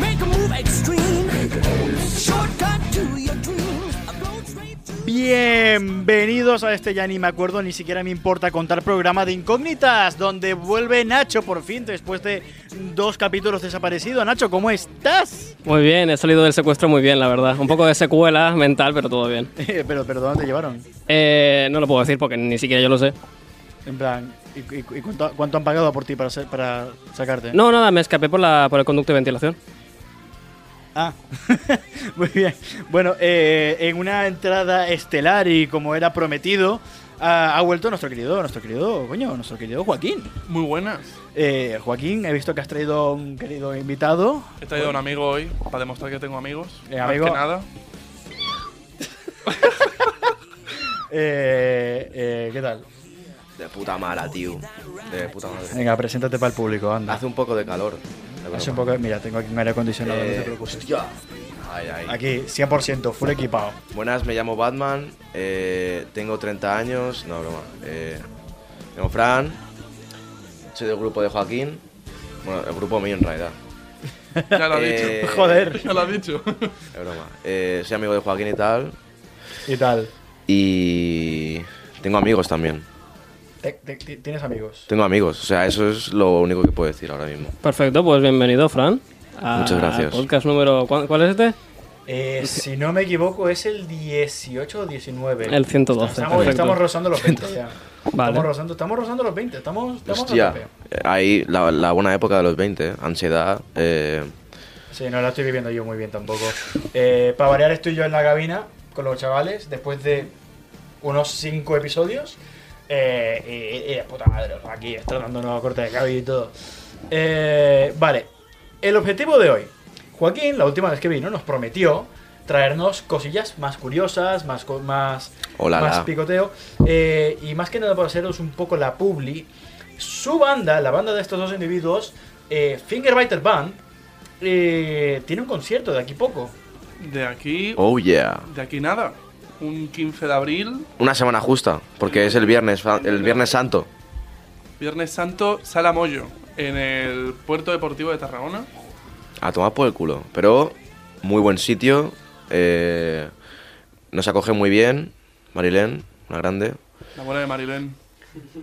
Make a move extreme. Shortcut to your dreams. A road straight to Bienvenidos a este ya ni me acuerdo, ni siquiera me importa contar programa de incógnitas, donde vuelve Nacho por fin después de dos capítulos desaparecido. Nacho, ¿cómo estás? Muy bien, he salido del secuestro muy bien, la verdad. Un poco de secuela mental, pero todo bien. Eh, pero, pero ¿dónde te llevaron? Eh, no lo puedo decir porque ni siquiera yo lo sé. En plan, ¿y, y- y cuánto, cuánto han pagado por ti para, ser- para sacarte? No, nada, me escapé por, la, por el conducto de ventilación. Ah, muy bien. Bueno, eh, en una entrada estelar y como era prometido, ha, ha vuelto nuestro querido, nuestro querido, coño, nuestro querido Joaquín. Muy buenas. Eh, Joaquín, he visto que has traído un querido invitado. He traído a un amigo hoy para demostrar que tengo amigos. Eh, más amigo. que nada. Eh, eh, ¿Qué tal? De puta mala, tío. De puta madre. Venga, preséntate para el público, anda. Hace un poco de calor. de Hace un broma. poco, mira, tengo aquí un aire acondicionado, no Eh, te preocupes. hostia. Ay, ay. Aquí, 100%, full equipado. Buenas, me llamo Batman. eh, tengo 30 años. No, broma. Eh, me llamo Fran. Soy del grupo de Joaquín. Bueno, el grupo mío en realidad. Ya lo ha Eh, dicho. Joder. Ya lo ha dicho. Es broma. Eh, soy amigo de Joaquín y tal. ¿Y tal? Y. Tengo amigos también. Te- te- ti- ¿Tienes amigos? Tengo amigos. O sea, eso es lo único que puedo decir ahora mismo. Perfecto, pues bienvenido, Fran. a- Muchas gracias. al Podcast número. ¿cuál, cuál es este? Eh, si no me equivoco, es el 18 o 19. El 112. Estamos, perfecto. estamos rozando los 20 ya. Vale. Estamos, rozando, estamos rozando los 20, estamos, estamos a tope. Hostia. eh, Ahí, la, la buena época de los 20. eh, Ansiedad. Eh, Sí, no la estoy viviendo yo muy bien tampoco. Eh, para variar, estoy yo en la cabina con los chavales después de unos 5 episodios. Eh, y, y de puta madre, o sea, aquí estoy dando nueva corte de cabello y todo. Eh, vale, el objetivo de hoy. Joaquín, la última vez que vino, nos prometió traernos cosillas más curiosas, más, co- más, Hola, más la. picoteo. eh, y más que nada para haceros un poco la publi. Su banda, la banda de estos dos individuos, eh, Fingerbiter Band, eh, tiene un concierto de aquí poco. De aquí. oh, yeah. De aquí nada. Un 15 de abril, Una semana justa, porque es el viernes, fa- el viernes santo. Viernes Santo, Sala Moyo, en el Puerto Deportivo de Tarragona. A tomar por el culo. Pero muy buen sitio. eh, nos acoge muy bien. Marilén, una grande. La abuela de Marilén.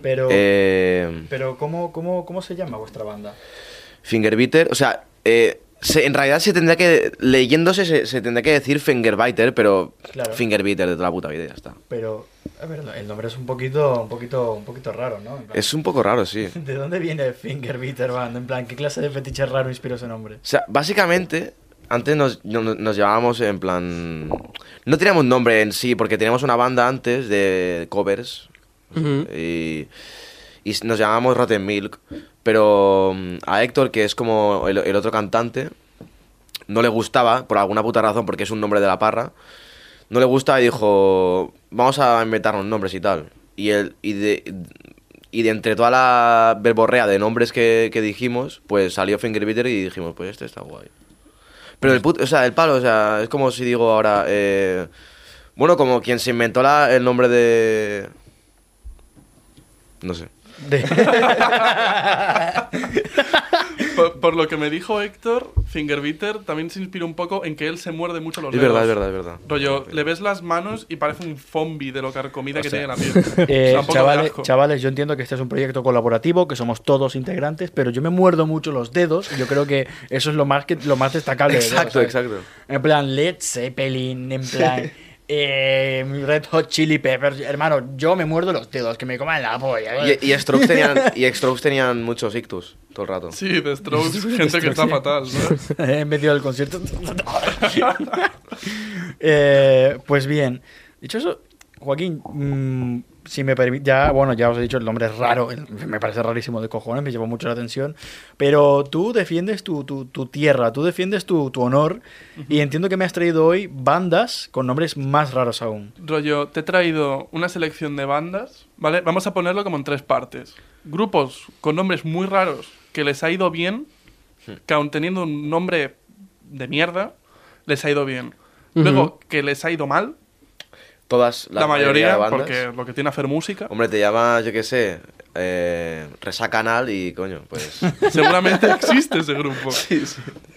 Pero, Eh, pero ¿cómo, cómo, ¿cómo se llama vuestra banda? Fingerbiter, o sea, eh, se- en realidad se tendría que, leyéndose, se, se tendría que decir Fingerbiter, pero Claro. Fingerbiter de toda la puta vida, y ya está. Pero, a ver, el nombre es un poquito, un poquito, un poquito raro, ¿no? En plan, Es un poco raro, sí. ¿De dónde viene Fingerbiter Band? En plan, ¿qué clase de fetiche raro inspiró ese nombre? O sea, básicamente, antes nos, no- no- nos llevábamos en plan. No teníamos nombre en sí, porque teníamos una banda antes de covers. Ujú. y, y s- nos llamábamos Rotten Milk. Pero mm, a Héctor, que es como el, el otro cantante, no le gustaba, por alguna puta razón, porque es un nombre de la parra. No le gusta y dijo: Vamos a inventarnos nombres y tal. Y, el, y de. Y de entre toda la verborrea de nombres que, que dijimos, pues salió Fingerbitter y dijimos, pues este está guay. Pero el puto, o sea, el palo, o sea, es como si digo ahora, eh, bueno, como quien se inventó la- el nombre de... No sé. Por, por lo que me dijo Héctor, Fingerbiter también se inspira un poco en que él se muerde mucho los Es dedos. verdad, es verdad, es verdad. Rollo, le ves las manos y parece un zombie de lo carcomida que tiene Hostia. la piel. O sea, un poco de Eh, chavales, asco. chavales, yo entiendo que este es un proyecto colaborativo, que somos todos integrantes, pero yo me muerdo mucho los dedos y yo creo que eso es lo más, que, lo más destacable. de todo, Exacto, ¿sabes? exacto. En plan, Led Zeppelin, en plan, eh, Red Hot Chili Peppers. Hermano, yo me muerdo los dedos, que me coman la polla. Y, y Strokes tenían, y Strokes tenían muchos ictus todo el rato. Sí, The Strokes, gente que está fatal, ¿no? en medio del concierto. Eh, pues bien, dicho eso, Joaquín, mm, si me permite, ya, bueno, ya os he dicho, el nombre es raro, el- me parece rarísimo de cojones, me lleva mucho la atención, pero tú defiendes tu, tu- tu tierra, tú defiendes tu, tu honor, y entiendo que me has traído hoy bandas con nombres más raros aún. Rollo, te he traído una selección de bandas, ¿vale? Vamos a ponerlo como en tres partes. Grupos con nombres muy raros que les ha ido bien, que aun teniendo un nombre de mierda, les ha ido bien. Luego, que les ha ido mal, Todas, la, la, mayoría, de bandas. porque lo que tiene hacer música. Hombre, te llama, yo qué sé, eh, Resacanal y coño, pues. Seguramente existe ese grupo.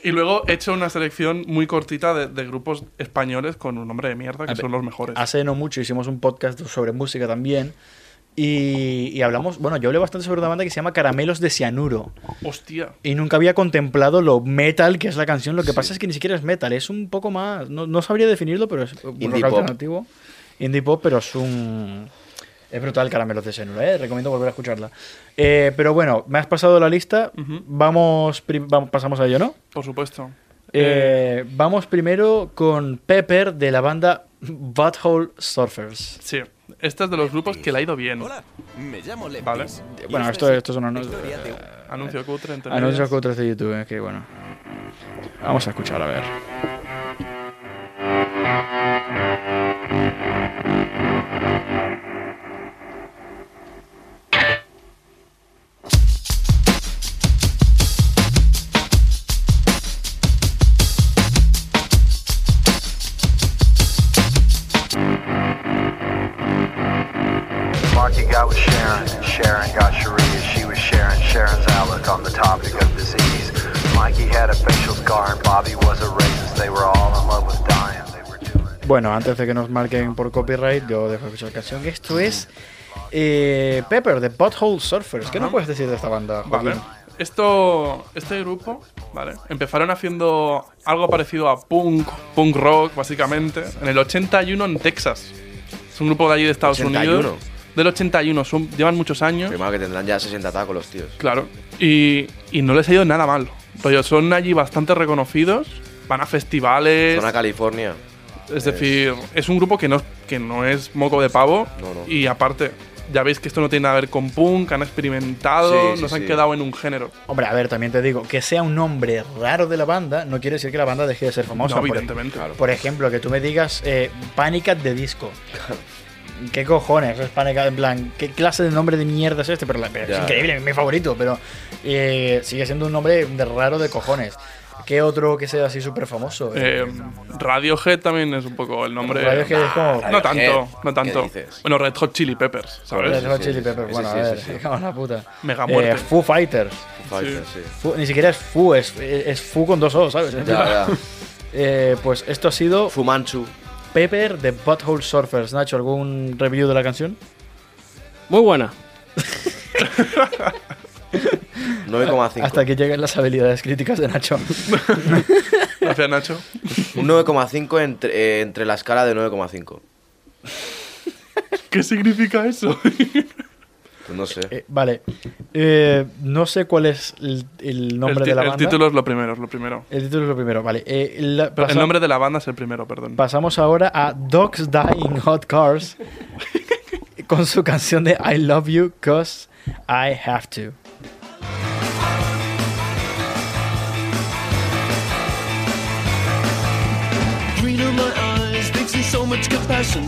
Y luego he hecho una selección muy cortita de, de grupos españoles con un nombre de mierda, que A ver, son los mejores. Hace no mucho hicimos un podcast sobre música también. Y, y hablamos, bueno, yo hablé bastante sobre una banda que se llama Caramelos de Cianuro. Hostia. Y nunca había contemplado lo metal que es la canción. Lo que pasa es que ni siquiera es metal, es un poco más. No, no sabría definirlo, pero es un Indie rock pop. alternativo. Indie pop, pero es un. Es brutal Caramelos de Cianuro, ¿eh? Recomiendo volver a escucharla. Eh, pero bueno, me has pasado la lista. Ujú. vamos, prim- vamos. Pasamos a ello, ¿no? Por supuesto. Eh, vamos primero con Pepper de la banda Butthole Surfers. Sí. Este es de los grupos que le ha ido bien. Hola, me llamo Leptis. Vale. Y Bueno, esta esto, es esto es una no- historia de un- Anuncio cutre, entre anuncios medias. que otros de YouTube, eh, que bueno. Vamos a escuchar, a ver. Marky got with Sharon, and Sharon got Sharia. She was sharing Sharon's outlook on the topic of disease. Mikey had a facial scar, and Bobby was a racist. They were all in love with dying. They were doing it. Bueno, antes de que nos marquen por copyright, yo dejo escuchar la canción. Esto es eh, Pepper de Butthole Surfers. ¿Qué nos puedes decir de esta banda, Joaquín? Vale. Esto, este grupo, ¿vale? Empezaron haciendo algo parecido a punk, punk rock, básicamente, en el 81 en Texas. Es un grupo de allí de Estados 81. Unidos. Del 81, son, llevan muchos años. Primero que tendrán ya 60 tacos los tíos. Claro. Y, y no les ha ido nada mal. Rollo, son allí bastante reconocidos, van a festivales. Zona California. Es decir, es un grupo que no, que no es moco de pavo. No, no. Y aparte, ya veis que esto no tiene nada que ver con punk, han experimentado, Sí, sí, nos han sí. quedado en un género. Hombre, a ver, también te digo, que sea un nombre raro de la banda no quiere decir que la banda deje de ser famosa. no, por- evidentemente. Por ejemplo, que tú me digas eh, Panic at the Disco. ¿Qué cojones es Panic at- En plan, ¿qué clase de nombre de mierda es este? Pero la- pero es Ya. increíble, mi favorito, pero eh, sigue siendo un nombre de raro de cojones. ¿Qué otro que sea así súper famoso? Eh, Radiohead también es un poco el nombre. Radiohead es como- No Radiohead, tanto, no ¿qué tanto. dices? Bueno, Red Hot Chili Peppers, ¿sabes? Red Hot sí, Chili sí, Peppers. sí, Bueno, sí, a sí, ver, sí. me cago en la puta. Mega Eh, muerte. Foo Fighters. Fighter, sí. Foo- ni siquiera es Foo, es, es Foo con dos O, ¿sabes? Ya, ya. Eh, pues esto ha sido Fumanchu. Pepper de Butthole Surfers. Nacho, ¿algún review de la canción? Muy buena. 9,5. Hasta que lleguen las habilidades críticas de Nacho. Gracias, Nacho. Un 9,5 entre, eh, entre la escala de 9,5. ¿Qué significa eso? Pues no sé. Eh, vale. Eh, no sé cuál es el, el nombre el, ti- de la el banda. título es lo primero, es lo primero. El título es lo primero, vale. Eh, la- Pero el pasa- nombre de la banda es el primero, perdón. Pasamos ahora a Dogs Die in Hot Cars con su canción de I Love You Cause I Have To. green in my eyes, they've seen so much compassion.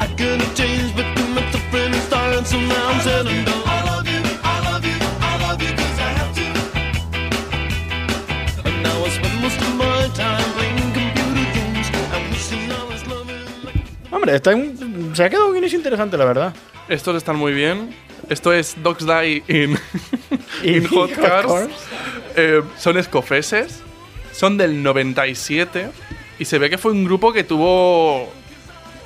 I couldn't change, but you met the friendly star, and so now I'm sad and down. I love you, I love you, I love you, cause I have to. And now I spend most of my time playing computer games. I'm wishing I was loving like Hombre, está un- se ha quedado un inicio interesante, la verdad. Estos están muy bien. Esto es Dogs Die in, in Hot Cars. Eh, son escofeses. Son del 97. Y se ve que fue un grupo que tuvo.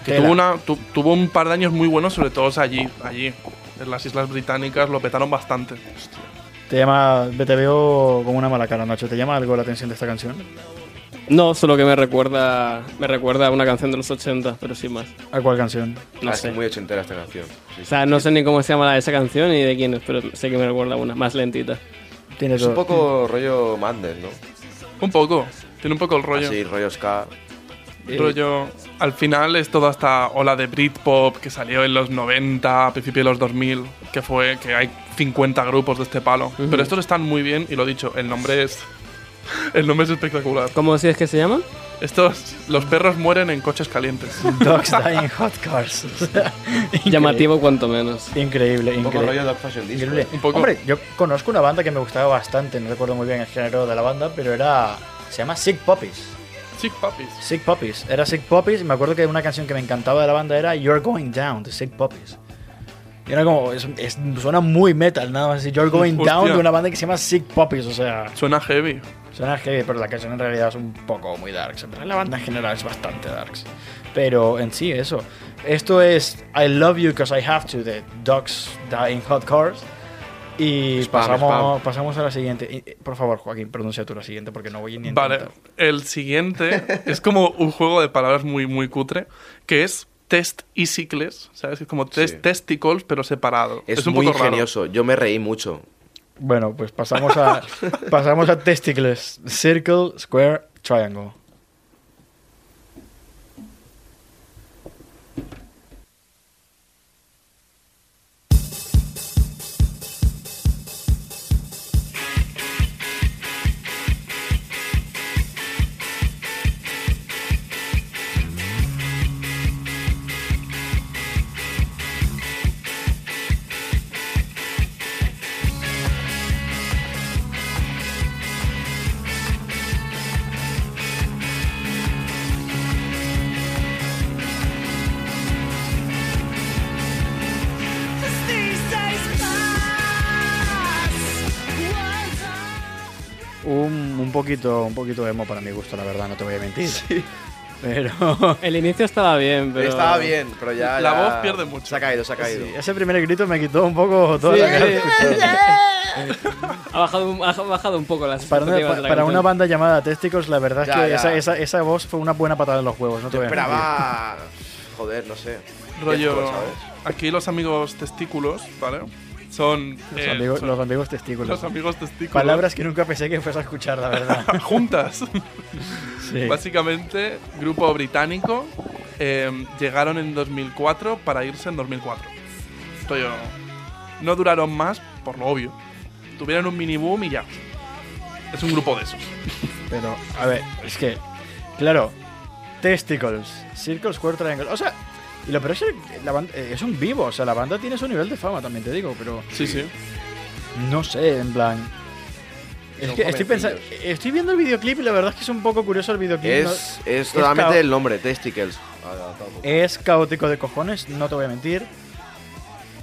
Que Tela. tuvo, una, tu- tuvo un par de años muy buenos, sobre todo allí, allí. En las Islas Británicas lo petaron bastante. Te llama, te veo con una mala cara, Nacho. ¿Te llama algo la atención de esta canción? No, solo que me recuerda, me recuerda a una canción de los 80, pero sin más. ¿A cuál canción? No Ah, sé. Es muy ochentera esta canción. Sí. O sea, no sé ni cómo se llama la de esa canción ni de quién es, pero sé que me recuerda a una, más lentita. Tiene Es un todo. poco rollo Mandel, ¿no? Ah, Un poco. Tiene un poco el rollo. Así, rollo ska. Eh, Rollo, al final es toda esta ola de Britpop que salió en los 90, a principios de los 2000, que fue que hay 50 grupos de este palo. Pero estos están muy bien y lo dicho, el nombre es el nombre es espectacular. ¿Cómo decías que se llama? Estos los perros mueren en coches calientes. Dogs Dying Hot Cars. O sea, increíble. Llamativo cuanto menos. Increíble, Un poco rollo increíble. Dark Fashion Disco. Increíble. Un poco. Hombre, yo conozco una banda que me gustaba bastante, no recuerdo muy bien el género de la banda, pero era. Se llama Sick Puppies. Chick Puppies. Sick Puppies. Era Sick Puppies y me acuerdo que una canción que me encantaba de la banda era You're Going Down de Sick Puppies. Y era como, es- es- suena muy metal, nada más. You're Going Hostia. Down de una banda que se llama Sick Puppies, o sea, Suena heavy. suena heavy, pero la canción en realidad es un poco muy darks. En realidad la banda en general es bastante darks. Pero en sí, eso. Esto es I Love You Cause I Have To de Dogs Die in Hot Cars. Y Spam, pasamos, pasamos a la siguiente. Y, eh, Por favor, Joaquín, pronuncia tú la siguiente porque no voy ni a Vale, intentar. el siguiente es como un juego de palabras muy, muy cutre, que es test y cicles, ¿sabes? Es como test, Sí. testicles, pero separado. Es, Es, un muy poco raro. ingenioso. Yo me reí mucho. Bueno, pues pasamos a, pasamos a testicles. Circle, square, triangle. Un, un poquito un poquito emo para mi gusto, la verdad, no te voy a mentir. Pero El inicio estaba bien, pero. Estaba bien, pero ya. La ya- voz pierde mucho. Se ha caído, se ha caído. ese primer grito me quitó un poco toda la cara. Ha bajado, un- ha bajado un poco las Para una, expectativas de pa- la para una canción. banda llamada Testicles, la verdad es Ya, que ya. Esa, esa- esa voz fue una buena patada en los huevos, no te Yo voy a mentir. esperaba. Joder, no sé. Rollo, Disco, pues, ¿sabes? aquí los amigos testículos, ¿vale? Son, Los eh, amigos, son los amigos testículos. los amigos testículos. Palabras que nunca pensé que fuese a escuchar, la verdad. juntas. Sí. Básicamente, grupo británico, eh, llegaron en 2004 para irse en 2004. Esto yo- no duraron más, por lo obvio. Tuvieron un mini boom y ya. Es un grupo de esos. Pero, a ver, es que, claro, Testicles, Circle Square Triangle, o sea, y lo peor es que la banda, eh, es un vivo, o sea, la banda tiene su nivel de fama, también te digo, pero Sí, sí. no sé, en plan... Es Son que estoy pensando, jovencillos. estoy viendo el videoclip y la verdad es que es un poco curioso el videoclip. Es, ¿no? es totalmente cao- el nombre, Testicles. Es caótico de cojones, no te voy a mentir.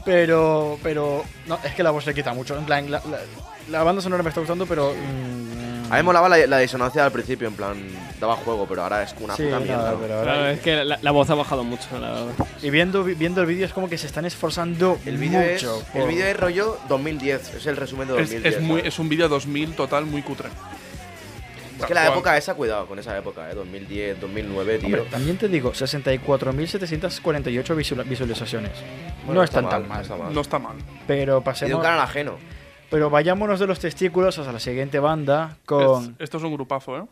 Pero, pero, no, es que la voz le quita mucho, en plan, la, la- la banda sonora me está gustando, pero... mm, A mí molaba la, la disonancia al principio, en plan, daba juego, pero ahora es una sí, puta nada, mierda. pero ahora- Claro, es que la, la voz ha bajado mucho, la verdad. Y viendo, vi- viendo el vídeo es como que se están esforzando El vídeo es, mucho. el por- vídeo es rollo 2010, es el resumen de Es, 2010. es muy, ¿sabes? es un vídeo 2000 total muy cutre. Es que la época esa, cuidado con esa época, eh, 2010, 2009, tío. Hombre, también te digo, 64.748 visual- visualizaciones. Bueno, no están tan mal. está mal. No está mal. Pero Y de un pasemos. canal ajeno. Pero vayámonos de los testículos hasta la siguiente banda con Es- esto es un grupazo, ¿eh?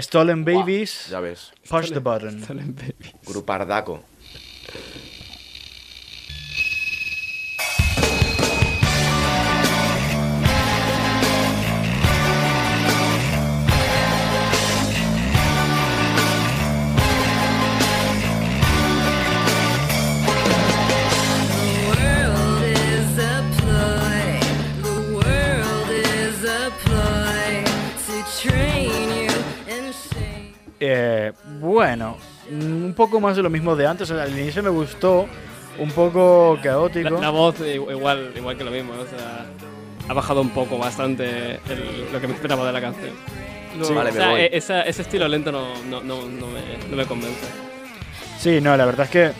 Stolen Babies, Ya ves, Push the Button. grupardaco. Eh, bueno, mm, un poco más de lo mismo de antes. o sea, al inicio me gustó, un poco La, caótico. la voz i- igual, igual que lo mismo, o sea, ha bajado un poco bastante el- lo que me esperaba de la canción. Vale, o me sea, voy. e- esa- ese estilo lento no, no, no, no me, no me convence. Sí, no, la verdad es que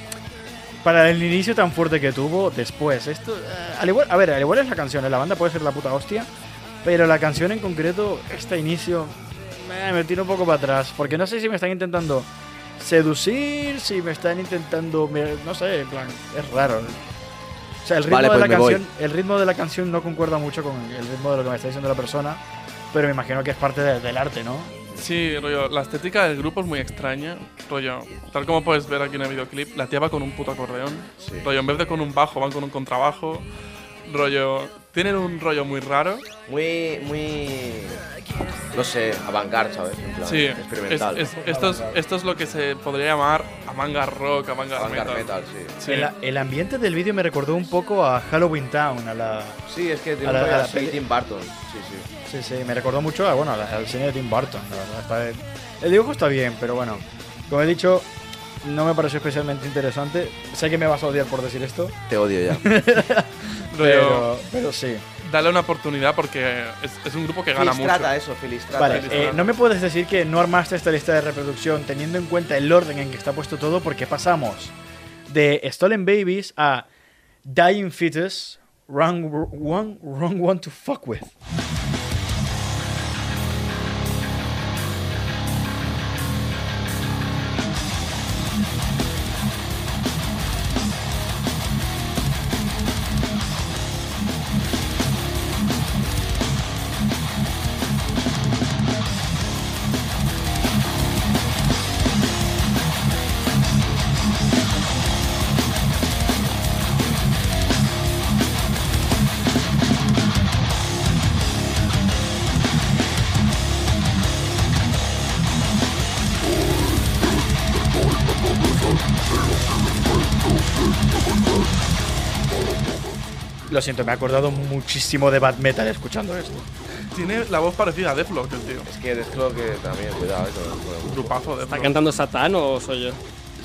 para el inicio tan fuerte que tuvo, después, esto. eh, al igual, a ver, al igual es la canción, ¿eh? la banda puede ser la puta hostia, pero la canción en concreto, este inicio, eh, me tiro un poco para atrás, porque no sé si me están intentando seducir, si me están intentando. me- No sé, en plan, es raro. O sea, el ritmo, Vale, de pues la me voy. canción, el ritmo de la canción no concuerda mucho con el ritmo de lo que me está diciendo la persona, pero me imagino que es parte de- del arte, ¿no? Sí, rollo, la estética del grupo es muy extraña. Rollo, tal como puedes ver aquí en el videoclip, la tía va con un puto acordeón. Sí. Rollo, en vez de con un bajo, van con un contrabajo. Rollo, tienen un rollo muy raro. Muy, muy. No sé, avant ¿sabes? En plan, Sí, experimental. es- es- esto, es, esto es lo que se podría llamar manga rock, manga avant-garde metal. metal, sí. Sí. El, el ambiente del vídeo me recordó un poco a Halloween Town, a la. Sí, es que tiene A la- un rollo a la así, peli- Tim Burton. Sí, sí. Sí, sí, me recordó mucho a, bueno, a la- al cine de Tim Burton, la verdad. Está- el dibujo está bien, pero bueno, como he dicho, no me pareció especialmente interesante. Sé que me vas a odiar por decir esto, Te odio ya. Rollo, pero, pero sí. dale una oportunidad porque es, es un grupo que gana Feliz mucho. trata eso, Feliz trata. Vale, Feliz eh, trata. no me puedes decir que no armaste esta lista de reproducción teniendo en cuenta el orden en que está puesto todo, porque pasamos de Stolen Babies a Dying Fetus, Wrong One, wrong one to Fuck With. Lo siento, me he acordado muchísimo de Bad Metal escuchando esto. Tiene la voz parecida a Deflock, el tío. Es que Deathclaw que también, cuidado, eh, con- con- Grupazo, Deflock. ¿Está cantando Satán o soy yo?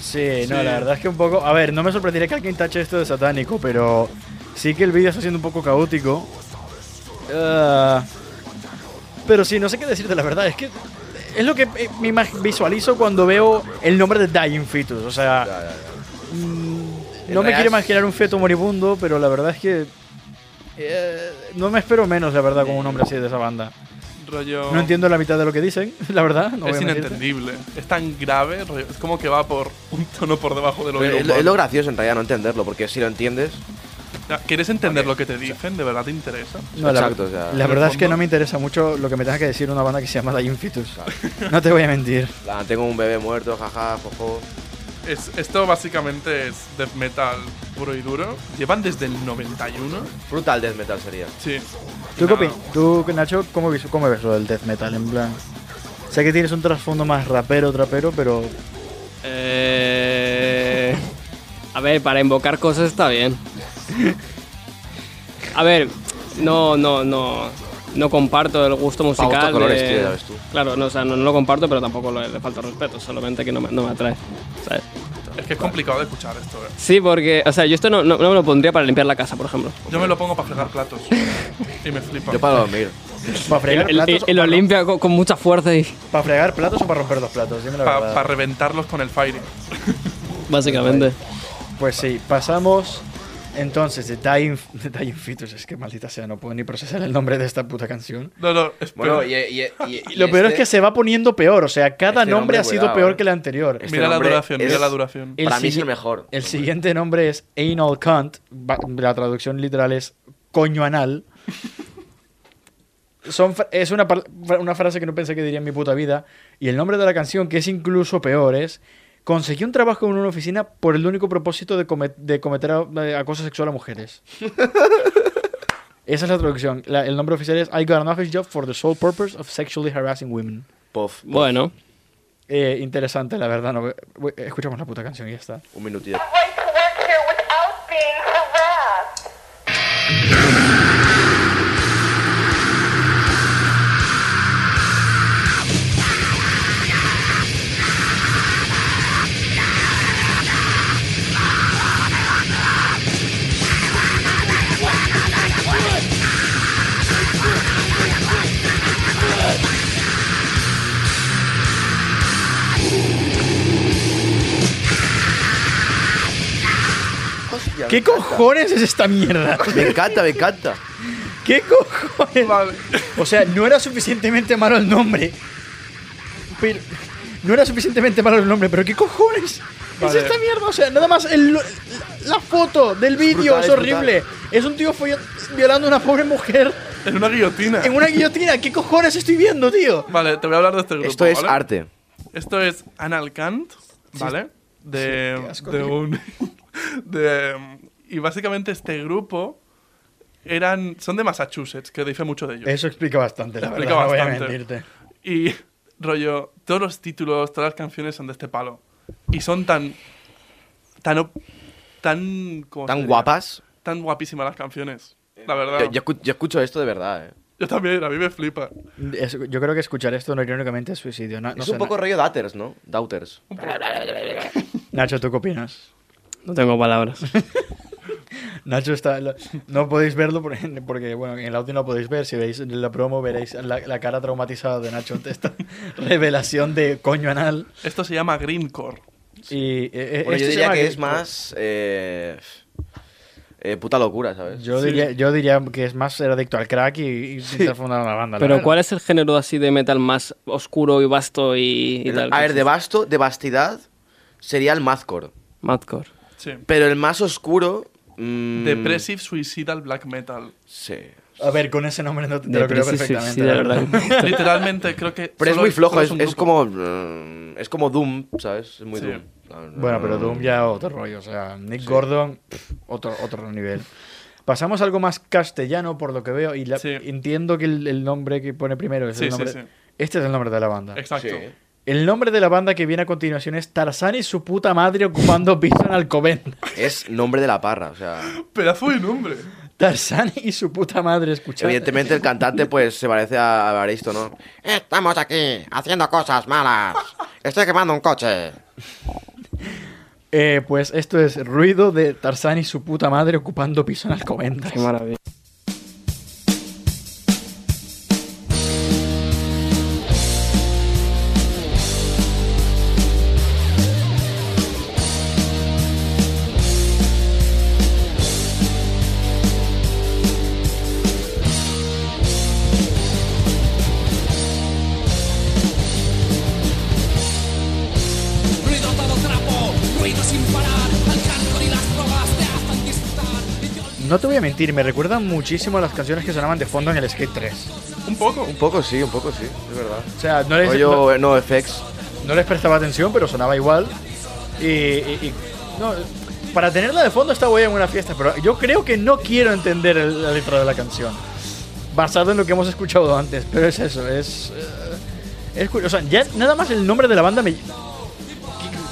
Sí, no, la Sí. verdad es que un poco. A ver, no me sorprendería que alguien tache esto de satánico, pero sí que el vídeo está siendo un poco caótico. Ah, pero sí, no sé qué decirte, la verdad. Es que es lo que eh, me imag- visualizo cuando veo el nombre de Dying Fetus. O sea, Ya, ya, ya. mm, En no me realidad quiero es- imaginar un feto moribundo, pero la verdad es que. eh, no me espero menos, la verdad, con un nombre así de esa banda. Rollo- No entiendo la mitad de lo que dicen, la verdad. No voy es a mentirte. inentendible. Es tan grave, rollo, es como que va por un tono por debajo de lo Pero que es, lo- es lo gracioso en realidad no entenderlo, porque si lo entiendes, Ya, ¿Quieres entender lo que te dicen? ¿De verdad te interesa? No, la, Exacto, o sea, la en verdad el es que fondo- no me interesa mucho lo que me tenga que decir una banda que se llama Dying Fetus. No te voy a mentir. la, tengo un bebé muerto, jaja, jojo. Es, esto básicamente es death metal puro y duro. Llevan desde el 91. Brutal death metal sería. Sí. ¿Tú, No. qué opin- tú Nacho, ¿cómo, vis- cómo ves lo del death metal? En plan, sé que tienes un trasfondo más rapero, trapero, pero Eh... A ver, para invocar cosas está bien. A ver, no, no, no. No comparto el gusto musical. gustos colores, de- tío, ya ves tú. Claro, no, o sea, no, no lo comparto, pero tampoco le, le falta respeto, solamente que no me, no me atrae. ¿sabes? Es que es complicado de escuchar esto. eh. Sí, porque, o sea, yo esto no, no, no me lo pondría para limpiar la casa, por ejemplo. Yo me lo pongo para fregar platos. y me flipa. Yo para dormir. ¿para fregar, Y- y- platos, y lo limpia con, con mucha fuerza y. ¿Para fregar platos o para romper los platos? Dime la Para verdad. reventarlos con el fire. Básicamente. Pues sí, pasamos entonces de Dying, de Dying Fetus. Es que maldita sea, no puedo ni procesar el nombre de esta puta canción. No, no, espera. Bueno, y, y- y- y Lo peor es este- que se va poniendo peor, o sea, cada Este nombre nombre, ha sido cuidado, peor eh. que el anterior. este mira la nombre duración, mira es- la duración. El Para mí es sigui- el mejor. El siguiente nombre es Anal Cunt. va- La traducción literal es coño anal. Son, fra- es una, par- fra- una frase que no pensé que diría en mi puta vida. Y el nombre de la canción, que es incluso peor, es Conseguí un trabajo en una oficina por el único propósito de, come- de cometer a- de acoso sexual a mujeres. Esa es la traducción. La- el nombre oficial es I got an office job for the sole purpose of sexually harassing women. Puff, Bueno. Eh, interesante, la verdad. no- eh, escuchamos la puta canción y ya está. un minutito. right to work here without being harassed. ¿Qué cojones es esta mierda? Me encanta, me encanta. ¿Qué cojones? O sea, no era suficientemente malo el nombre. Pero- no era suficientemente malo el nombre, pero ¿qué cojones? Vale. Es esta mierda, o sea, nada más el- la, la foto del vídeo brutal, es es horrible. Es, un tío follo- violando a una pobre mujer En una guillotina. En una guillotina, ¿qué cojones estoy viendo, tío? Vale, te voy a hablar de este grupo. Esto es ¿vale? arte. Esto es Anal Kant, ¿vale? De, qué asco, de tío. un. de- y básicamente este grupo eran. Son de Massachusetts, que dice mucho de ellos. Eso explica bastante, la Explica verdad. No voy a bastante. mentirte. Y rollo, todos los títulos, todas las canciones son de este palo. Y son tan. tan. op- tan. ¿cómo se Tan diría? guapas. Tan guapísimas las canciones. La verdad. Yo, yo escu- yo escucho esto de verdad, eh. Yo también, a mí me flipa. Es- yo creo que escuchar esto no irónicamente es suicidio. Na- no es sé, un poco Na- rollo Doubters, ¿no? E-, Doubters. Nacho, ¿tú qué opinas? No tengo palabras. Nacho está. lo- no podéis verlo porque, porque, bueno, en el audio no podéis ver. Si veis la promo, veréis la, la cara traumatizada de Nacho ante esta revelación de coño anal. Esto se llama Greencore. Y, eh, eh, esto Bueno, yo se diría llama que Green es Core. más. eh, eh, puta locura, ¿sabes? Yo, diría, yo diría que es más ser adicto al crack y, y intentar fundar una banda. la Pero verdad. ¿cuál es el género así de metal más oscuro y vasto y, y tal? a ver, de vasto, de vastidad, sería el Mazcore. Madcore. Sí. Pero el más oscuro. mm, Depressive Suicidal Black Metal. Sí. A ver, con ese nombre no te, te lo creo Depressive perfectamente. Suicide, la la verdad. verdad. Literalmente, creo que. Pero es solo- muy flojo, solo es, un es grupo. como. mm, Es como Doom, ¿sabes? Es muy Sí. Doom. Bueno, Mm. pero Doom ya otro rollo. O sea, Nick Gordon, pff, otro, otro nivel. Pasamos a algo más castellano, por lo que veo. Y la- Sí. entiendo que el, el nombre que pone primero es Sí, el sí, nombre. sí. Este es el nombre de la banda. Exacto. Sí. El nombre de la banda que viene a continuación es Tarzán y su puta madre ocupando piso en Alcobendas. Es nombre de la parra, o sea. Pedazo de nombre. Tarzán y su puta madre, escuchad. Evidentemente el cantante pues se parece a Baristo, ¿no? Estamos aquí haciendo cosas malas. Estoy quemando un coche. Eh, pues esto es ruido de Tarzán y su puta madre ocupando piso en Alcobendas. Qué maravilla. No te voy a mentir, me recuerdan muchísimo a las canciones que sonaban de fondo en el Skate 3. Un poco. Un poco sí, un poco sí, es verdad. O sea, no les, no- Rollo no FX. No les prestaba atención, pero sonaba igual. Y, y- y- no, para tenerla de fondo está guay en una fiesta, pero yo creo que no quiero entender el- la letra de la canción. Basado en lo que hemos escuchado antes, pero es eso, es. eh, es curioso. O sea, ya nada más el nombre de la banda me,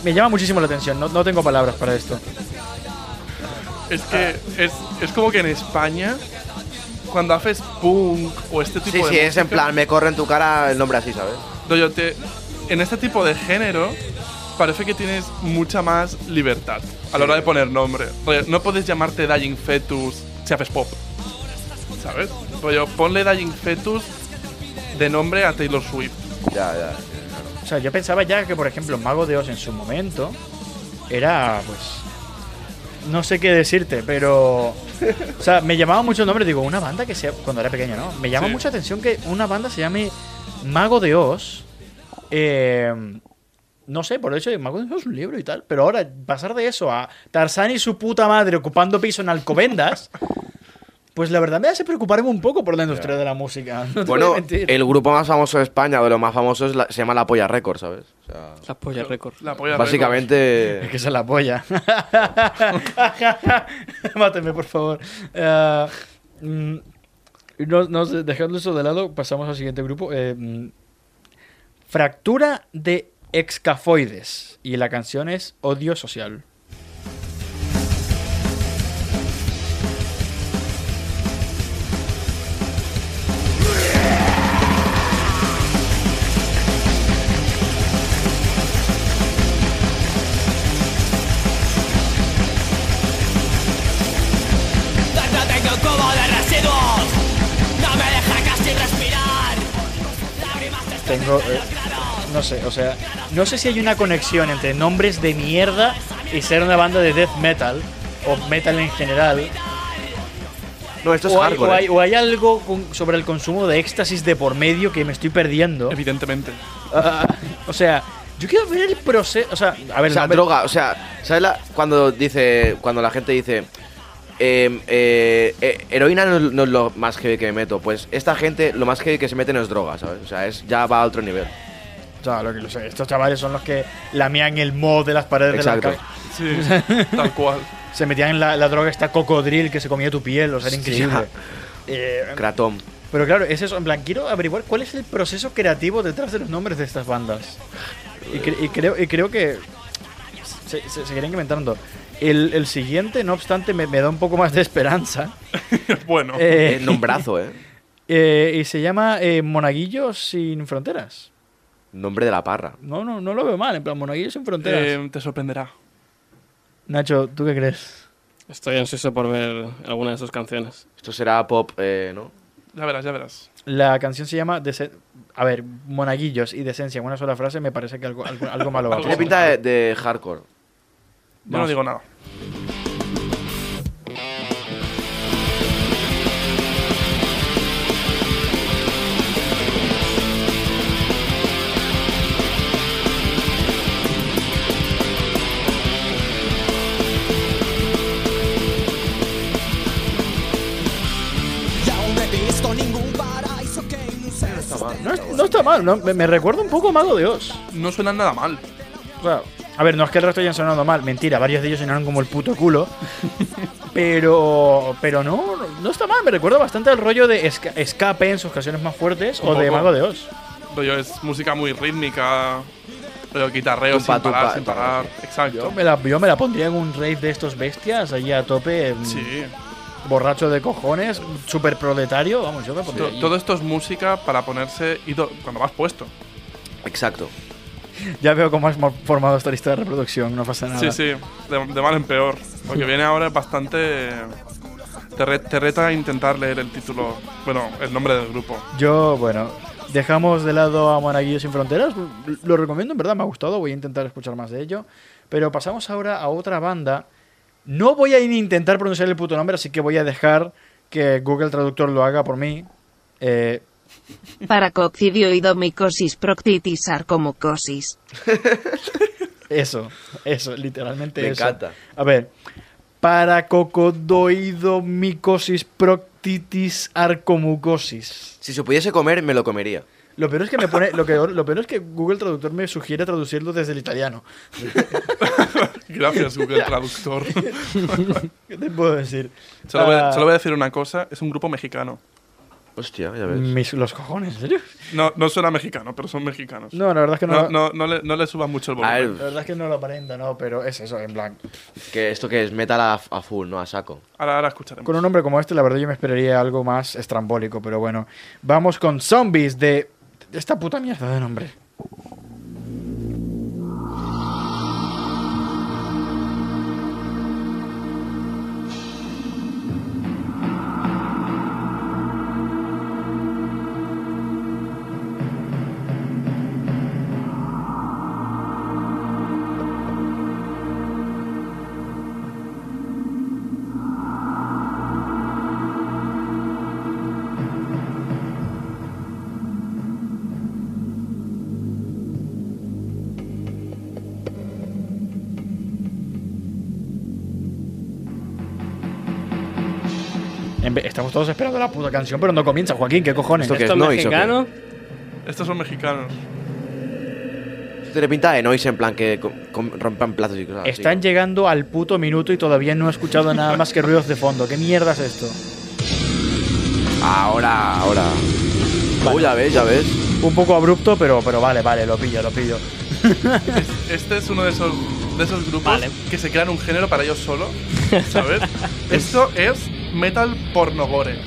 me llama muchísimo la atención. No, no tengo palabras para esto. Es que Ah. es, es como que en España, cuando haces punk o este tipo Sí, de. sí, es en música, plan, me corre en tu cara el nombre así, ¿sabes? rollo, te- en este tipo de género, parece que tienes mucha más libertad a la hora de poner nombre. Rollo, no puedes llamarte Dying Fetus si haces pop. ¿Sabes? Rollo, ponle Dying Fetus de nombre a Taylor Swift. Ya, ya. O sea, yo pensaba ya que, por ejemplo, Mago de Oz en su momento era, pues. No sé qué decirte, pero. O sea, me llamaba mucho el nombre. Digo, una banda que sea. Cuando era pequeño, ¿no? Me llama Sí. mucha atención que una banda se llame Mago de Oz. Eh, no sé, por el hecho de que Mago de Oz es un libro y tal. Pero ahora, pasar de eso a Tarzán y su puta madre ocupando piso en Alcobendas. Pues la verdad me hace preocuparme un poco por la industria de la música. No te voy a Bueno, mentir. el grupo más famoso de España, de los más famosos, la- se llama La Polla Records, ¿sabes? O sea, Las pollas récord. La polla de Es básicamente... que se la apoya. Máteme, por favor. Ah, mm, no, no sé, dejando eso de lado, pasamos al siguiente grupo. Eh, mm, fractura de excafoides. Y la canción es Odio Social. Tengo. eh, no sé, o sea. No sé si hay una conexión entre nombres de mierda y ser una banda de death metal. O metal en general. No, esto es o, hay, hardcore. o ¿eh? hay- o hay algo con- sobre el consumo de éxtasis de por medio que me estoy perdiendo. Evidentemente. Ah, o sea, yo quiero ver el proceso. O sea, a ver, O sea, la- droga, o sea, ¿sabes la- cuando dice, cuando la gente dice, eh, eh, eh, heroína no, es- no es lo más heavy que me meto. Pues esta gente, lo más heavy que se mete no es droga, ¿sabes? O sea, es, ya va a otro nivel. O sea, lo que lo sé, estos chavales son los que lamían el mod de las paredes de la Exacto. casa. Sí, tal cual. Se metían en la, la droga esta cocodril que se comía tu piel, o sea, era Sí. increíble. Eh, Kratom. pero claro, es eso. En plan, quiero averiguar cuál es el proceso creativo detrás de los nombres de estas bandas. Y, cre- y creo, y creo que se, se seguirán inventando. El, el siguiente, no obstante, me, me da un poco más de esperanza. bueno, Eh, Es nombrazo, ¿eh? eh, y se llama eh, Monaguillo sin fronteras. Nombre de la parra. No, no, no lo veo mal. En plan, Monaguillo sin fronteras. eh, te sorprenderá. Nacho, ¿tú qué crees? Estoy ansioso por ver alguna de sus canciones. Esto será pop, eh, ¿no? Ya verás, ya verás. La canción se llama Dece- A ver, monaguillos y decencia en una sola frase me parece que algo, algo, algo malo va a Algo Tiene pasar. pinta de, de hardcore. Yo no digo nada. No, es- no está mal, no, me, me recuerda un poco a Mago de Oz. No suena nada mal. O sea, a ver, no es que el resto hayan sonado mal, mentira, varios de ellos sonaron como el puto culo. pero pero no, no está mal, me recuerda bastante al rollo de Esca- Escape en sus canciones más fuertes Un o de poco. Mago de Oz. Rollo es música muy rítmica. Rollo guitarreo Tumpa, sin parar, tumpa, sin tumpa. parar. Yo Exacto. me, la, yo me la pondría en un rave de estos bestias, allí a tope, mm, Sí. borracho de cojones, super proletario, vamos, yo me pondría To- allí. Todo esto es música para ponerse ido- cuando vas puesto. Exacto. Ya veo cómo has mo- formado esta lista de reproducción, no pasa nada. Sí, sí, de, de mal en peor. Lo que viene ahora es bastante... Te, re- te reta a intentar leer el título, bueno, el nombre del grupo. Yo, bueno, dejamos de lado a Monaguillo sin Fronteras. Lo recomiendo, en verdad, me ha gustado. Voy a intentar escuchar más de ello. Pero pasamos ahora a otra banda. No voy a ni intentar pronunciar el puto nombre, así que voy a dejar que Google Traductor lo haga por mí. Eh, Paracoccidioidomicosis proctitis sarcomucosis. eso, eso, literalmente Me eso. encanta. A ver. Paracocodoidomicosis proctitis arcomucosis. Si se pudiese comer, me lo comería. Lo peor es que me pone. Lo, peor, lo peor es que Google Traductor me sugiere traducirlo desde el italiano. Gracias, Google Traductor. ¿Qué te puedo decir? solo, voy a, Ah, solo voy a decir una cosa, es un grupo mexicano. Hostia, ya ves. mis, los cojones, ¿en serio? No, no suena mexicano, pero son mexicanos. No, la verdad es que no, lo- No, no, no le, no le suban mucho el A La volumen. ver, verdad es que no lo aparenta, no, pero es eso, en blanco. que esto que es metal a, a full, ¿no? A saco. Ahora, ahora escucharemos. Con un nombre como este, la verdad yo me esperaría algo más estrambólico, pero bueno. Vamos con zombies de. de esta puta mierda de nombre. En vez- Estamos todos esperando la puta canción, pero no comienza, Joaquín, ¿qué cojones? Esto que- ¿Esto es noise o qué? mexicano? Estos son mexicanos. Esto tiene pinta de noise en plan que com- com- rompan platos y cosas así, Están Ah, ¿no? llegando al puto minuto y todavía no he escuchado nada más que ruidos de fondo. ¿Qué mierda es esto? Ahora, ahora. Uy, ya ves, ya ves. Un poco abrupto, pero, pero vale, vale, lo pillo, lo pillo. Este es uno de esos, de esos grupos Vale. que se crean un género para ellos solos, ¿sabes? Esto es metal pornogore,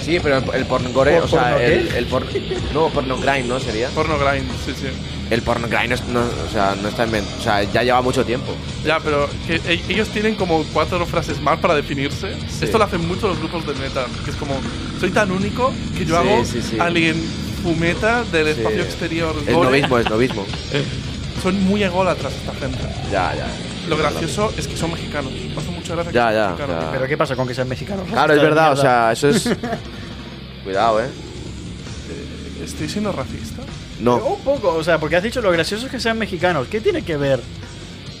Sí, pero el, el porngore, ¿Por- o sea, porno qué? el, el por- No, porno grind, ¿no? Sería. porno grind, sí, sí. El porno grind no, es- no- o sea, no está inventado. O sea, ya lleva mucho tiempo. Ya, pero que e- ellos tienen como cuatro frases más para definirse. Sí. Esto lo hacen mucho los grupos de metal, que es como, soy tan único que yo Sí, hago sí, sí. alien fumeta del Sí. espacio exterior. Es gore". novismo, es novismo. Son muy ególatras esta gente. Ya, ya. Lo gracioso es que son mexicanos. Me hace mucha gracia Ya, que ya, son mexicanos. ya. Pero ¿qué pasa con que sean mexicanos? Ah. Claro, es verdad, o sea, eso es. Cuidado, eh. ¿Estoy siendo racista? No. Un poco, o sea, porque has dicho lo gracioso es que sean mexicanos. ¿Qué tiene que ver?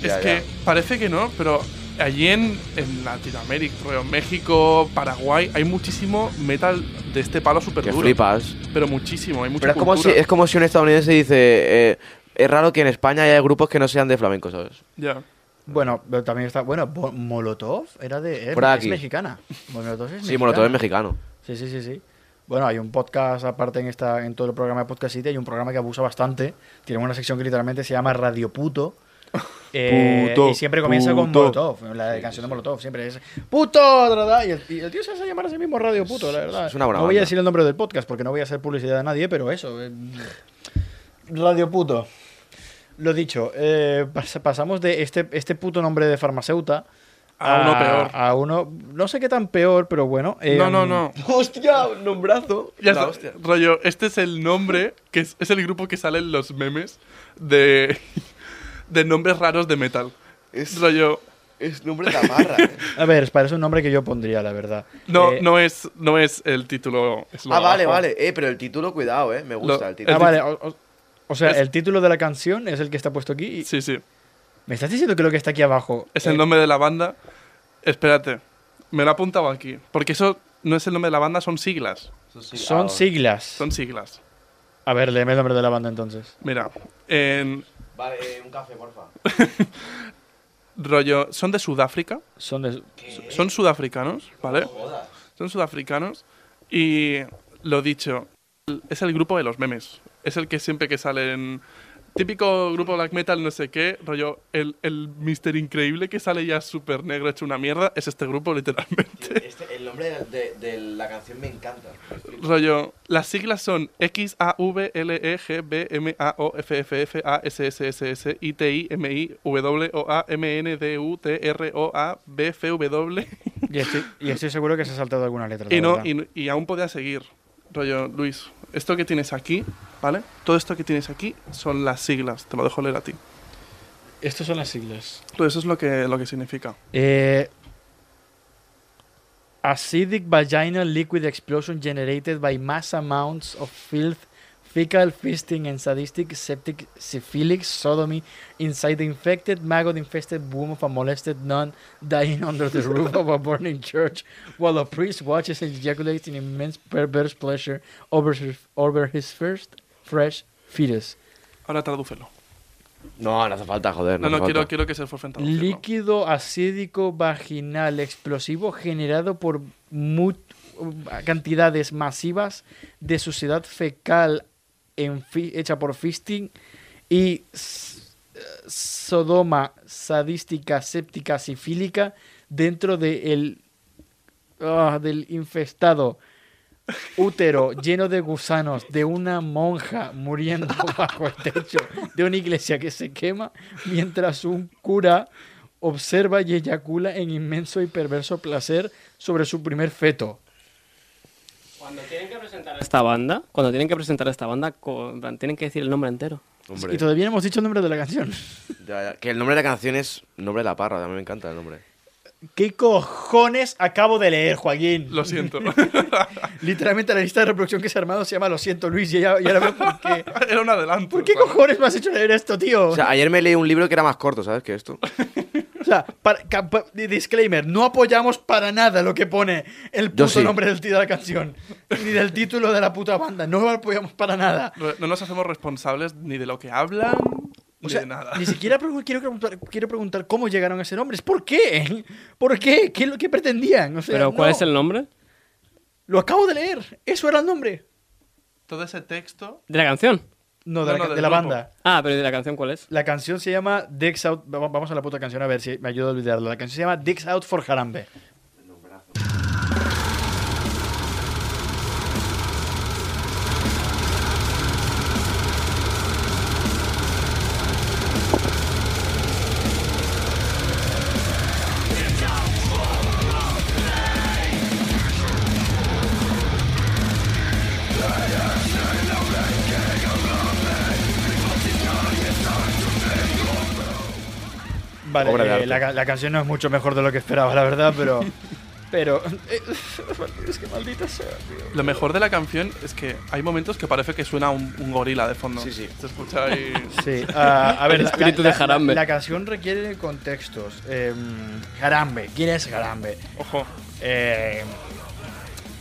Ya, es ya. que parece que no, pero allí en, en Latinoamérica, creo, México, Paraguay, hay muchísimo metal de este palo súper Que duro. flipas. Pero muchísimo, hay mucha Pero es como, si, cultura. es como si un estadounidense dice, eh, es raro que en España haya grupos que no sean de flamenco, ¿sabes? Ya. Bueno, pero también está. Bueno, Bo- Molotov era de. eh, Es, Braki. es mexicana. Molotov es mexicana. Sí, Molotov es mexicano. Sí, sí, sí, sí. Bueno, hay un podcast aparte en esta en todo el programa de Podcast City, hay un programa que abusa bastante. Tiene una sección que literalmente se llama Radio Puto. Eh, Puto, y siempre comienza con puto. Molotov, la canción de Molotov, siempre es puto, da, da, da, y el, y el tío se hace llamar a sí mismo Radio Puto, la verdad. Es una buena no voy a banda. decir el nombre del podcast porque no voy a hacer publicidad a nadie, pero eso, eh, Radio Puto. Lo dicho, eh, pas- pasamos de este, este puto nombre de farmacéuta A uno peor. A uno, no sé qué tan peor, pero bueno. eh, No, no, no. ¡Hostia! Un nombrazo. Ya está. Rollo, este es el nombre, que es, es el grupo que sale en los memes de, de nombres raros de metal. Es- Rollo, Es nombre de la barra. eh. A ver, parece un nombre que yo pondría, la verdad. no, Eh, no, es, no es el título. es lo ah, vale, abajo. vale. Eh, pero el título, cuidado, eh. Me gusta Lo- el título. Ah, el vale. O, o- o sea, Es- el título de la canción es el que está puesto aquí. y- Sí, sí. ¿Me estás diciendo que lo que está aquí abajo Es eh, el nombre de la banda. Espérate, me lo he apuntado aquí. Porque eso no es el nombre de la banda, son siglas. Ah, son siglas? Son siglas. A ver, léeme el nombre de la banda entonces. Mira, en Vale, eh, un café, porfa. rollo, son de Sudáfrica. Son de. Son sudafricanos, ¿vale? Son sudafricanos. Y lo dicho, es el grupo de los memes. Es el que siempre que salen. Típico grupo black metal, no sé qué, rollo. El, el Mister Increíble que sale ya súper negro, hecho una mierda, es este grupo, literalmente. Este, el nombre de, la canción me encanta. Rollo, las siglas son X A V L E G B M A O F F F A S S S S I T I M I W O A M N D U T R O A B F W Y estoy, y estoy seguro que se ha saltado alguna letra. la y no verdad. y, y aún podía seguir. Rollo, Luis, esto que tienes aquí, ¿vale? Todo esto que tienes aquí son las siglas, te lo dejo leer a ti. Estas son las siglas. Todo eso es lo que lo que significa. Eh, acidic vaginal liquid explosion generated by mass amounts of filth, fecal fisting, and sadistic septic syphilic sodomy inside the infected, maggot-infested womb of a molested nun dying under the roof of a burning church while a priest watches and ejaculates in immense perverse pleasure over his, over his first fresh fetus. Ahora tradúcelo. No, no hace falta, joder. No, no, hace quiero, falta. quiero que se esfuercen traduzco. Líquido acídico vaginal explosivo generado por mu- cantidades masivas de suciedad fecal en fi- hecha por fisting y s- eh, sodoma sadística, séptica, sifílica dentro de el- ah, del infestado útero lleno de gusanos de una monja muriendo bajo el techo de una iglesia que se quema mientras un cura observa y eyacula en inmenso y perverso placer sobre su primer feto. Cuando tienen que presentar esta banda, cuando tienen que presentar esta banda, co- en plan, tienen que decir el nombre entero. Hombre, Y todavía no hemos dicho el nombre de la canción. ya, ya. Que el nombre de la canción es nombre de la parra. A mí me encanta el nombre. ¿Qué cojones acabo de leer, Joaquín? Lo siento. Literalmente la lista de reproducción que se ha armado se llama Lo siento, Luis, y ya, ya la veo por qué. Era un adelanto. ¿Por qué ¿sabes? cojones me has hecho leer esto, tío? O sea, ayer me leí un libro que era más corto, ¿sabes? Que esto. O sea, para- ca- pa- di- disclaimer, no apoyamos para nada lo que pone el Yo puto sí. nombre del tío de la canción, ni del título de la puta banda, no lo apoyamos para nada. Re- No nos hacemos responsables ni de lo que hablan, O ni sea, de nada. ni siquiera pregu- quiero preguntar, quiero preguntar cómo llegaron a ese nombre, es por qué, por qué, qué es lo que pretendían. O sea, ¿Pero cuál no. es el nombre Lo acabo de leer, eso era el nombre. Todo ese texto. de la canción? No, de No, la, no, de del la grupo. banda. Ah, pero ¿y de la canción cuál es? La canción se llama Dicks Out. va- Vamos a la puta canción a ver si me ayuda a olvidarla. La canción se llama Dicks Out for Harambe. Vale, eh, Obra de arte. eh, la, ca- la canción no es mucho mejor de lo que esperaba, la verdad, pero. Pero. es que maldita sea, tío. Lo mejor de la canción es que hay momentos que parece que suena un, un gorila de fondo. Sí, sí. Se escucha ahí. Sí, ah, a ver, El la- espíritu la- de Jarambe. La, la canción requiere contextos. Eh, Jarambe, ¿quién es Jarambe? Ojo. Eh,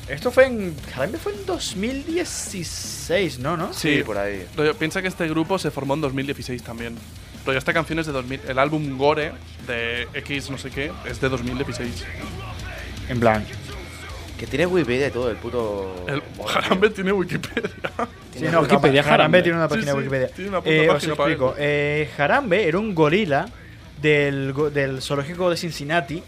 esto fue en. Jarambe fue en 2016, ¿no? ¿No? Sí, por ahí. Rollo, piensa que este grupo se formó en 2016 también. Rollo, esta canción es de 2000. El álbum Gore de X no sé qué es de 2016. En plan. Que tiene Wikipedia y todo, el puto. El Jarambe tiene Wikipedia. Sí, no, Jarambe. Wikipedia, Jarambe. tiene una página Sí, sí, de Wikipedia. tiene una puta Eh, os página para explico. eso. Eh, Jarambe era un gorila del, go- del zoológico de Cincinnati.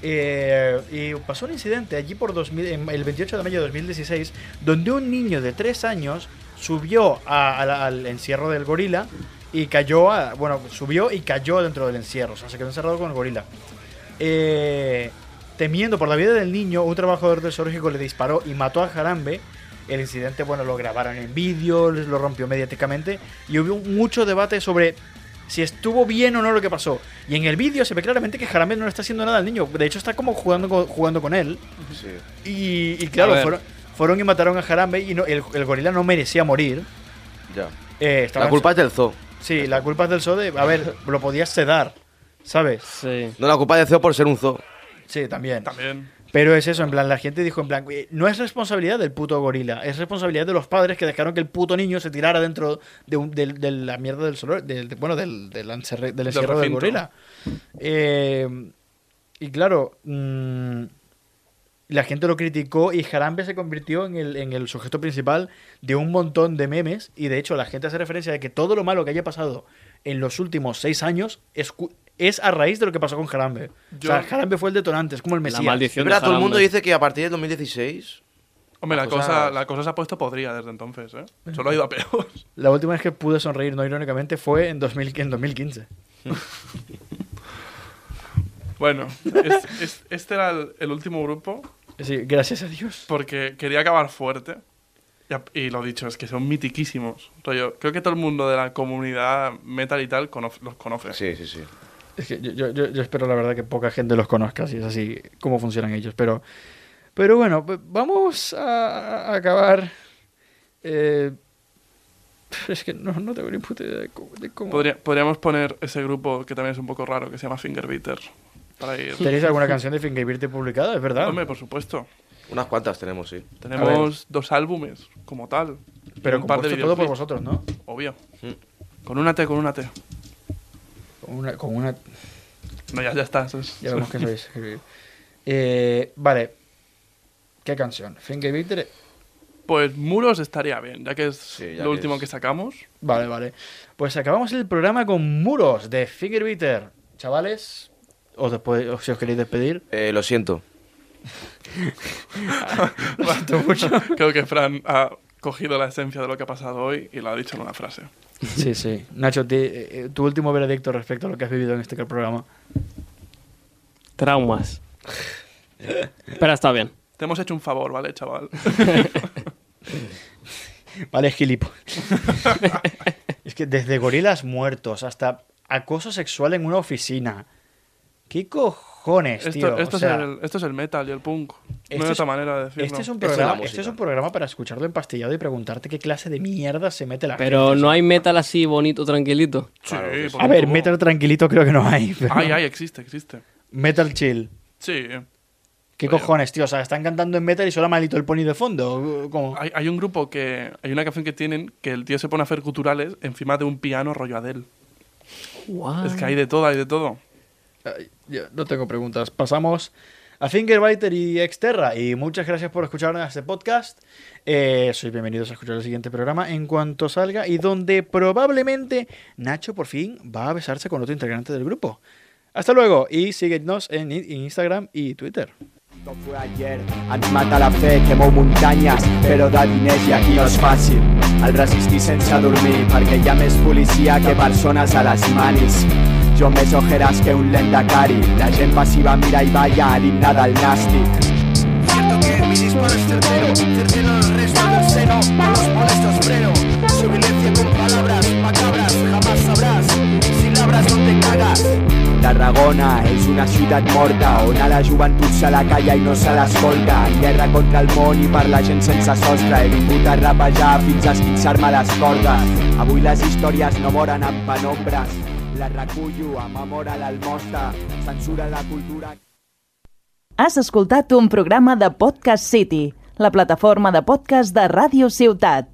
eh, y pasó un incidente allí por 2000, en- el 28 de mayo de 2016, donde un niño de 3 años subió a- a la- al encierro del gorila y cayó, a- bueno, subió y cayó dentro del encierro, o sea, se quedó encerrado con el gorila. Eh, temiendo por la vida del niño, un trabajador del zoológico le disparó y mató a Jarambe. El incidente, bueno, lo grabaron en vídeo, les- lo rompió mediáticamente y hubo mucho debate sobre si estuvo bien o no lo que pasó. Y en el vídeo se ve claramente que Jarambe no le está haciendo nada al niño. De hecho, está como jugando con, jugando con él. Sí. Y, y A claro, ver. fueron, fueron y mataron a Jarambe y no- el, el gorila no merecía morir. Ya. Eh, estaba La culpa es del zoo. Sí, la culpa es del zoo de... A ver, lo podías sedar, ¿sabes? Sí. No, la culpa es del zoo por ser un zoo. Sí, también. También. Pero es eso, en plan, la gente dijo en plan, "Eh, no es responsabilidad del puto gorila, es responsabilidad de los padres que dejaron que el puto niño se tirara dentro de, un- del- de la mierda del sol, del, de- bueno, del, del, encerre- del encierro del recinto. gorila. Eh, y claro, mm, la gente lo criticó y Jarambe se convirtió en el, en el sujeto principal de un montón de memes y de hecho la gente hace referencia de que todo lo malo que haya pasado en los últimos seis años es, cu- es a raíz de lo que pasó con Jarambe. Yo- O sea, Jarambe fue el detonante, es como el La Mesías. Es maldición de verdad, todo el mundo Jarambe. dice que a partir del 2016. Hombre, la, La cosa, cosa- la cosa se ha puesto podrida desde entonces, ¿eh? Solo ha ido a peor. La última vez que pude sonreír, no irónicamente, fue en, 2000, en 2015. Bueno, es- es- este era el, el último grupo Sí, gracias a Dios. porque quería acabar fuerte. Y, a- y lo dicho, es que son mitiquísimos. Rollo, creo que todo el mundo de la comunidad metal y tal cono- los conoce. Sí, sí, sí. Es que yo, yo- yo- yo espero, la verdad, que poca gente los conozca, si es así, cómo funcionan ellos. Pero, pero bueno, pues, vamos a, a acabar. Eh, es que no, no tengo ni puta idea de cómo. de cómo- Podría- podríamos poner ese grupo que también es un poco raro, que se llama Fingerbeater. Para ir. ¿Tenéis alguna canción de Fingerbeater publicada? Es verdad. Hombre, por supuesto. Unas cuantas tenemos, sí. Tenemos dos álbumes como tal. y pero un par de compuesto todo por videoclips, vosotros, ¿no? Obvio. Mm. Con una T, con una T. Con una, con una No, ya, ya está. eso es- Ya vemos que sabéis escribir. Eh, vale. ¿Qué canción? Fingerbeater Pues Muros estaría bien, ya que es Sí, ya lo que último es- que sacamos. Vale, vale. Pues acabamos el programa con Muros de Finger Beater. Chavales, os después, os- si os queréis despedir. Eh, lo siento. Lo siento mucho. Creo que Fran ha cogido la esencia de lo que ha pasado hoy y lo ha dicho en una frase. Sí, sí. Nacho, ti- eh, eh, tu último veredicto respecto a lo que has vivido en este programa. Traumas. Pero está bien. Te hemos hecho un favor, ¿vale, chaval? Pues, Vale, gilipo. es que desde gorilas muertos hasta acoso sexual en una oficina. ¿Qué cojones, esto, tío? O esto sea, es el, esto es el metal y el punk. Esto no hay es- otra manera de decirlo. este es, un Esto es la programa, música. este es un programa para escucharlo empastillado y preguntarte qué clase de mierda se mete la Pero no hay metal así bonito, tranquilito. Sí, por A ver, favor. metal tranquilito creo que no hay. pero- Ay, ay, existe, existe. Metal chill. Sí. ¿Qué Oye. cojones, tío? O sea, están cantando en metal y solo maldito el pony de fondo. ¿Cómo? Hay, hay un grupo que. Hay una canción que tienen que el tío se pone a hacer culturales encima de un piano rollo Adele. Guau. Es que hay de todo, hay de todo. Ay, ya, no tengo preguntas. Pasamos a Fingerbiter y Exterra. Y muchas gracias por escuchar este podcast. Eh, sois bienvenidos a escuchar el siguiente programa en cuanto salga y donde probablemente Nacho por fin va a besarse con otro integrante del grupo. Hasta luego y síguenos en in- Instagram y Twitter. Esto fue ayer, ens mata la fe, quemou muntanyes, però de diners i aquí no és fàcil. El resistir sense dormir, perquè hi ha més policia que persones a les manis. Jo amb més ojeres que un lent de cari, la gent passiva mira i balla a l'himne del nàstic. Cierto que mi disparo es certero, certero el resto del seno, a los molestos freno. Su violencia con palabras macabras jamás sabrás, si labras no te cagas. La Tarragona és una ciutat morta on a la joventut se la calla i no se l'escolta en guerra contra el món i per la gent sense sostre he vingut a rapejar fins a esquinçar-me les cordes avui les històries no moren en penombres les recullo amb amor a l'almosta censura la cultura Has escoltat un programa de Podcast City, la plataforma de podcast de Ràdio Ciutat.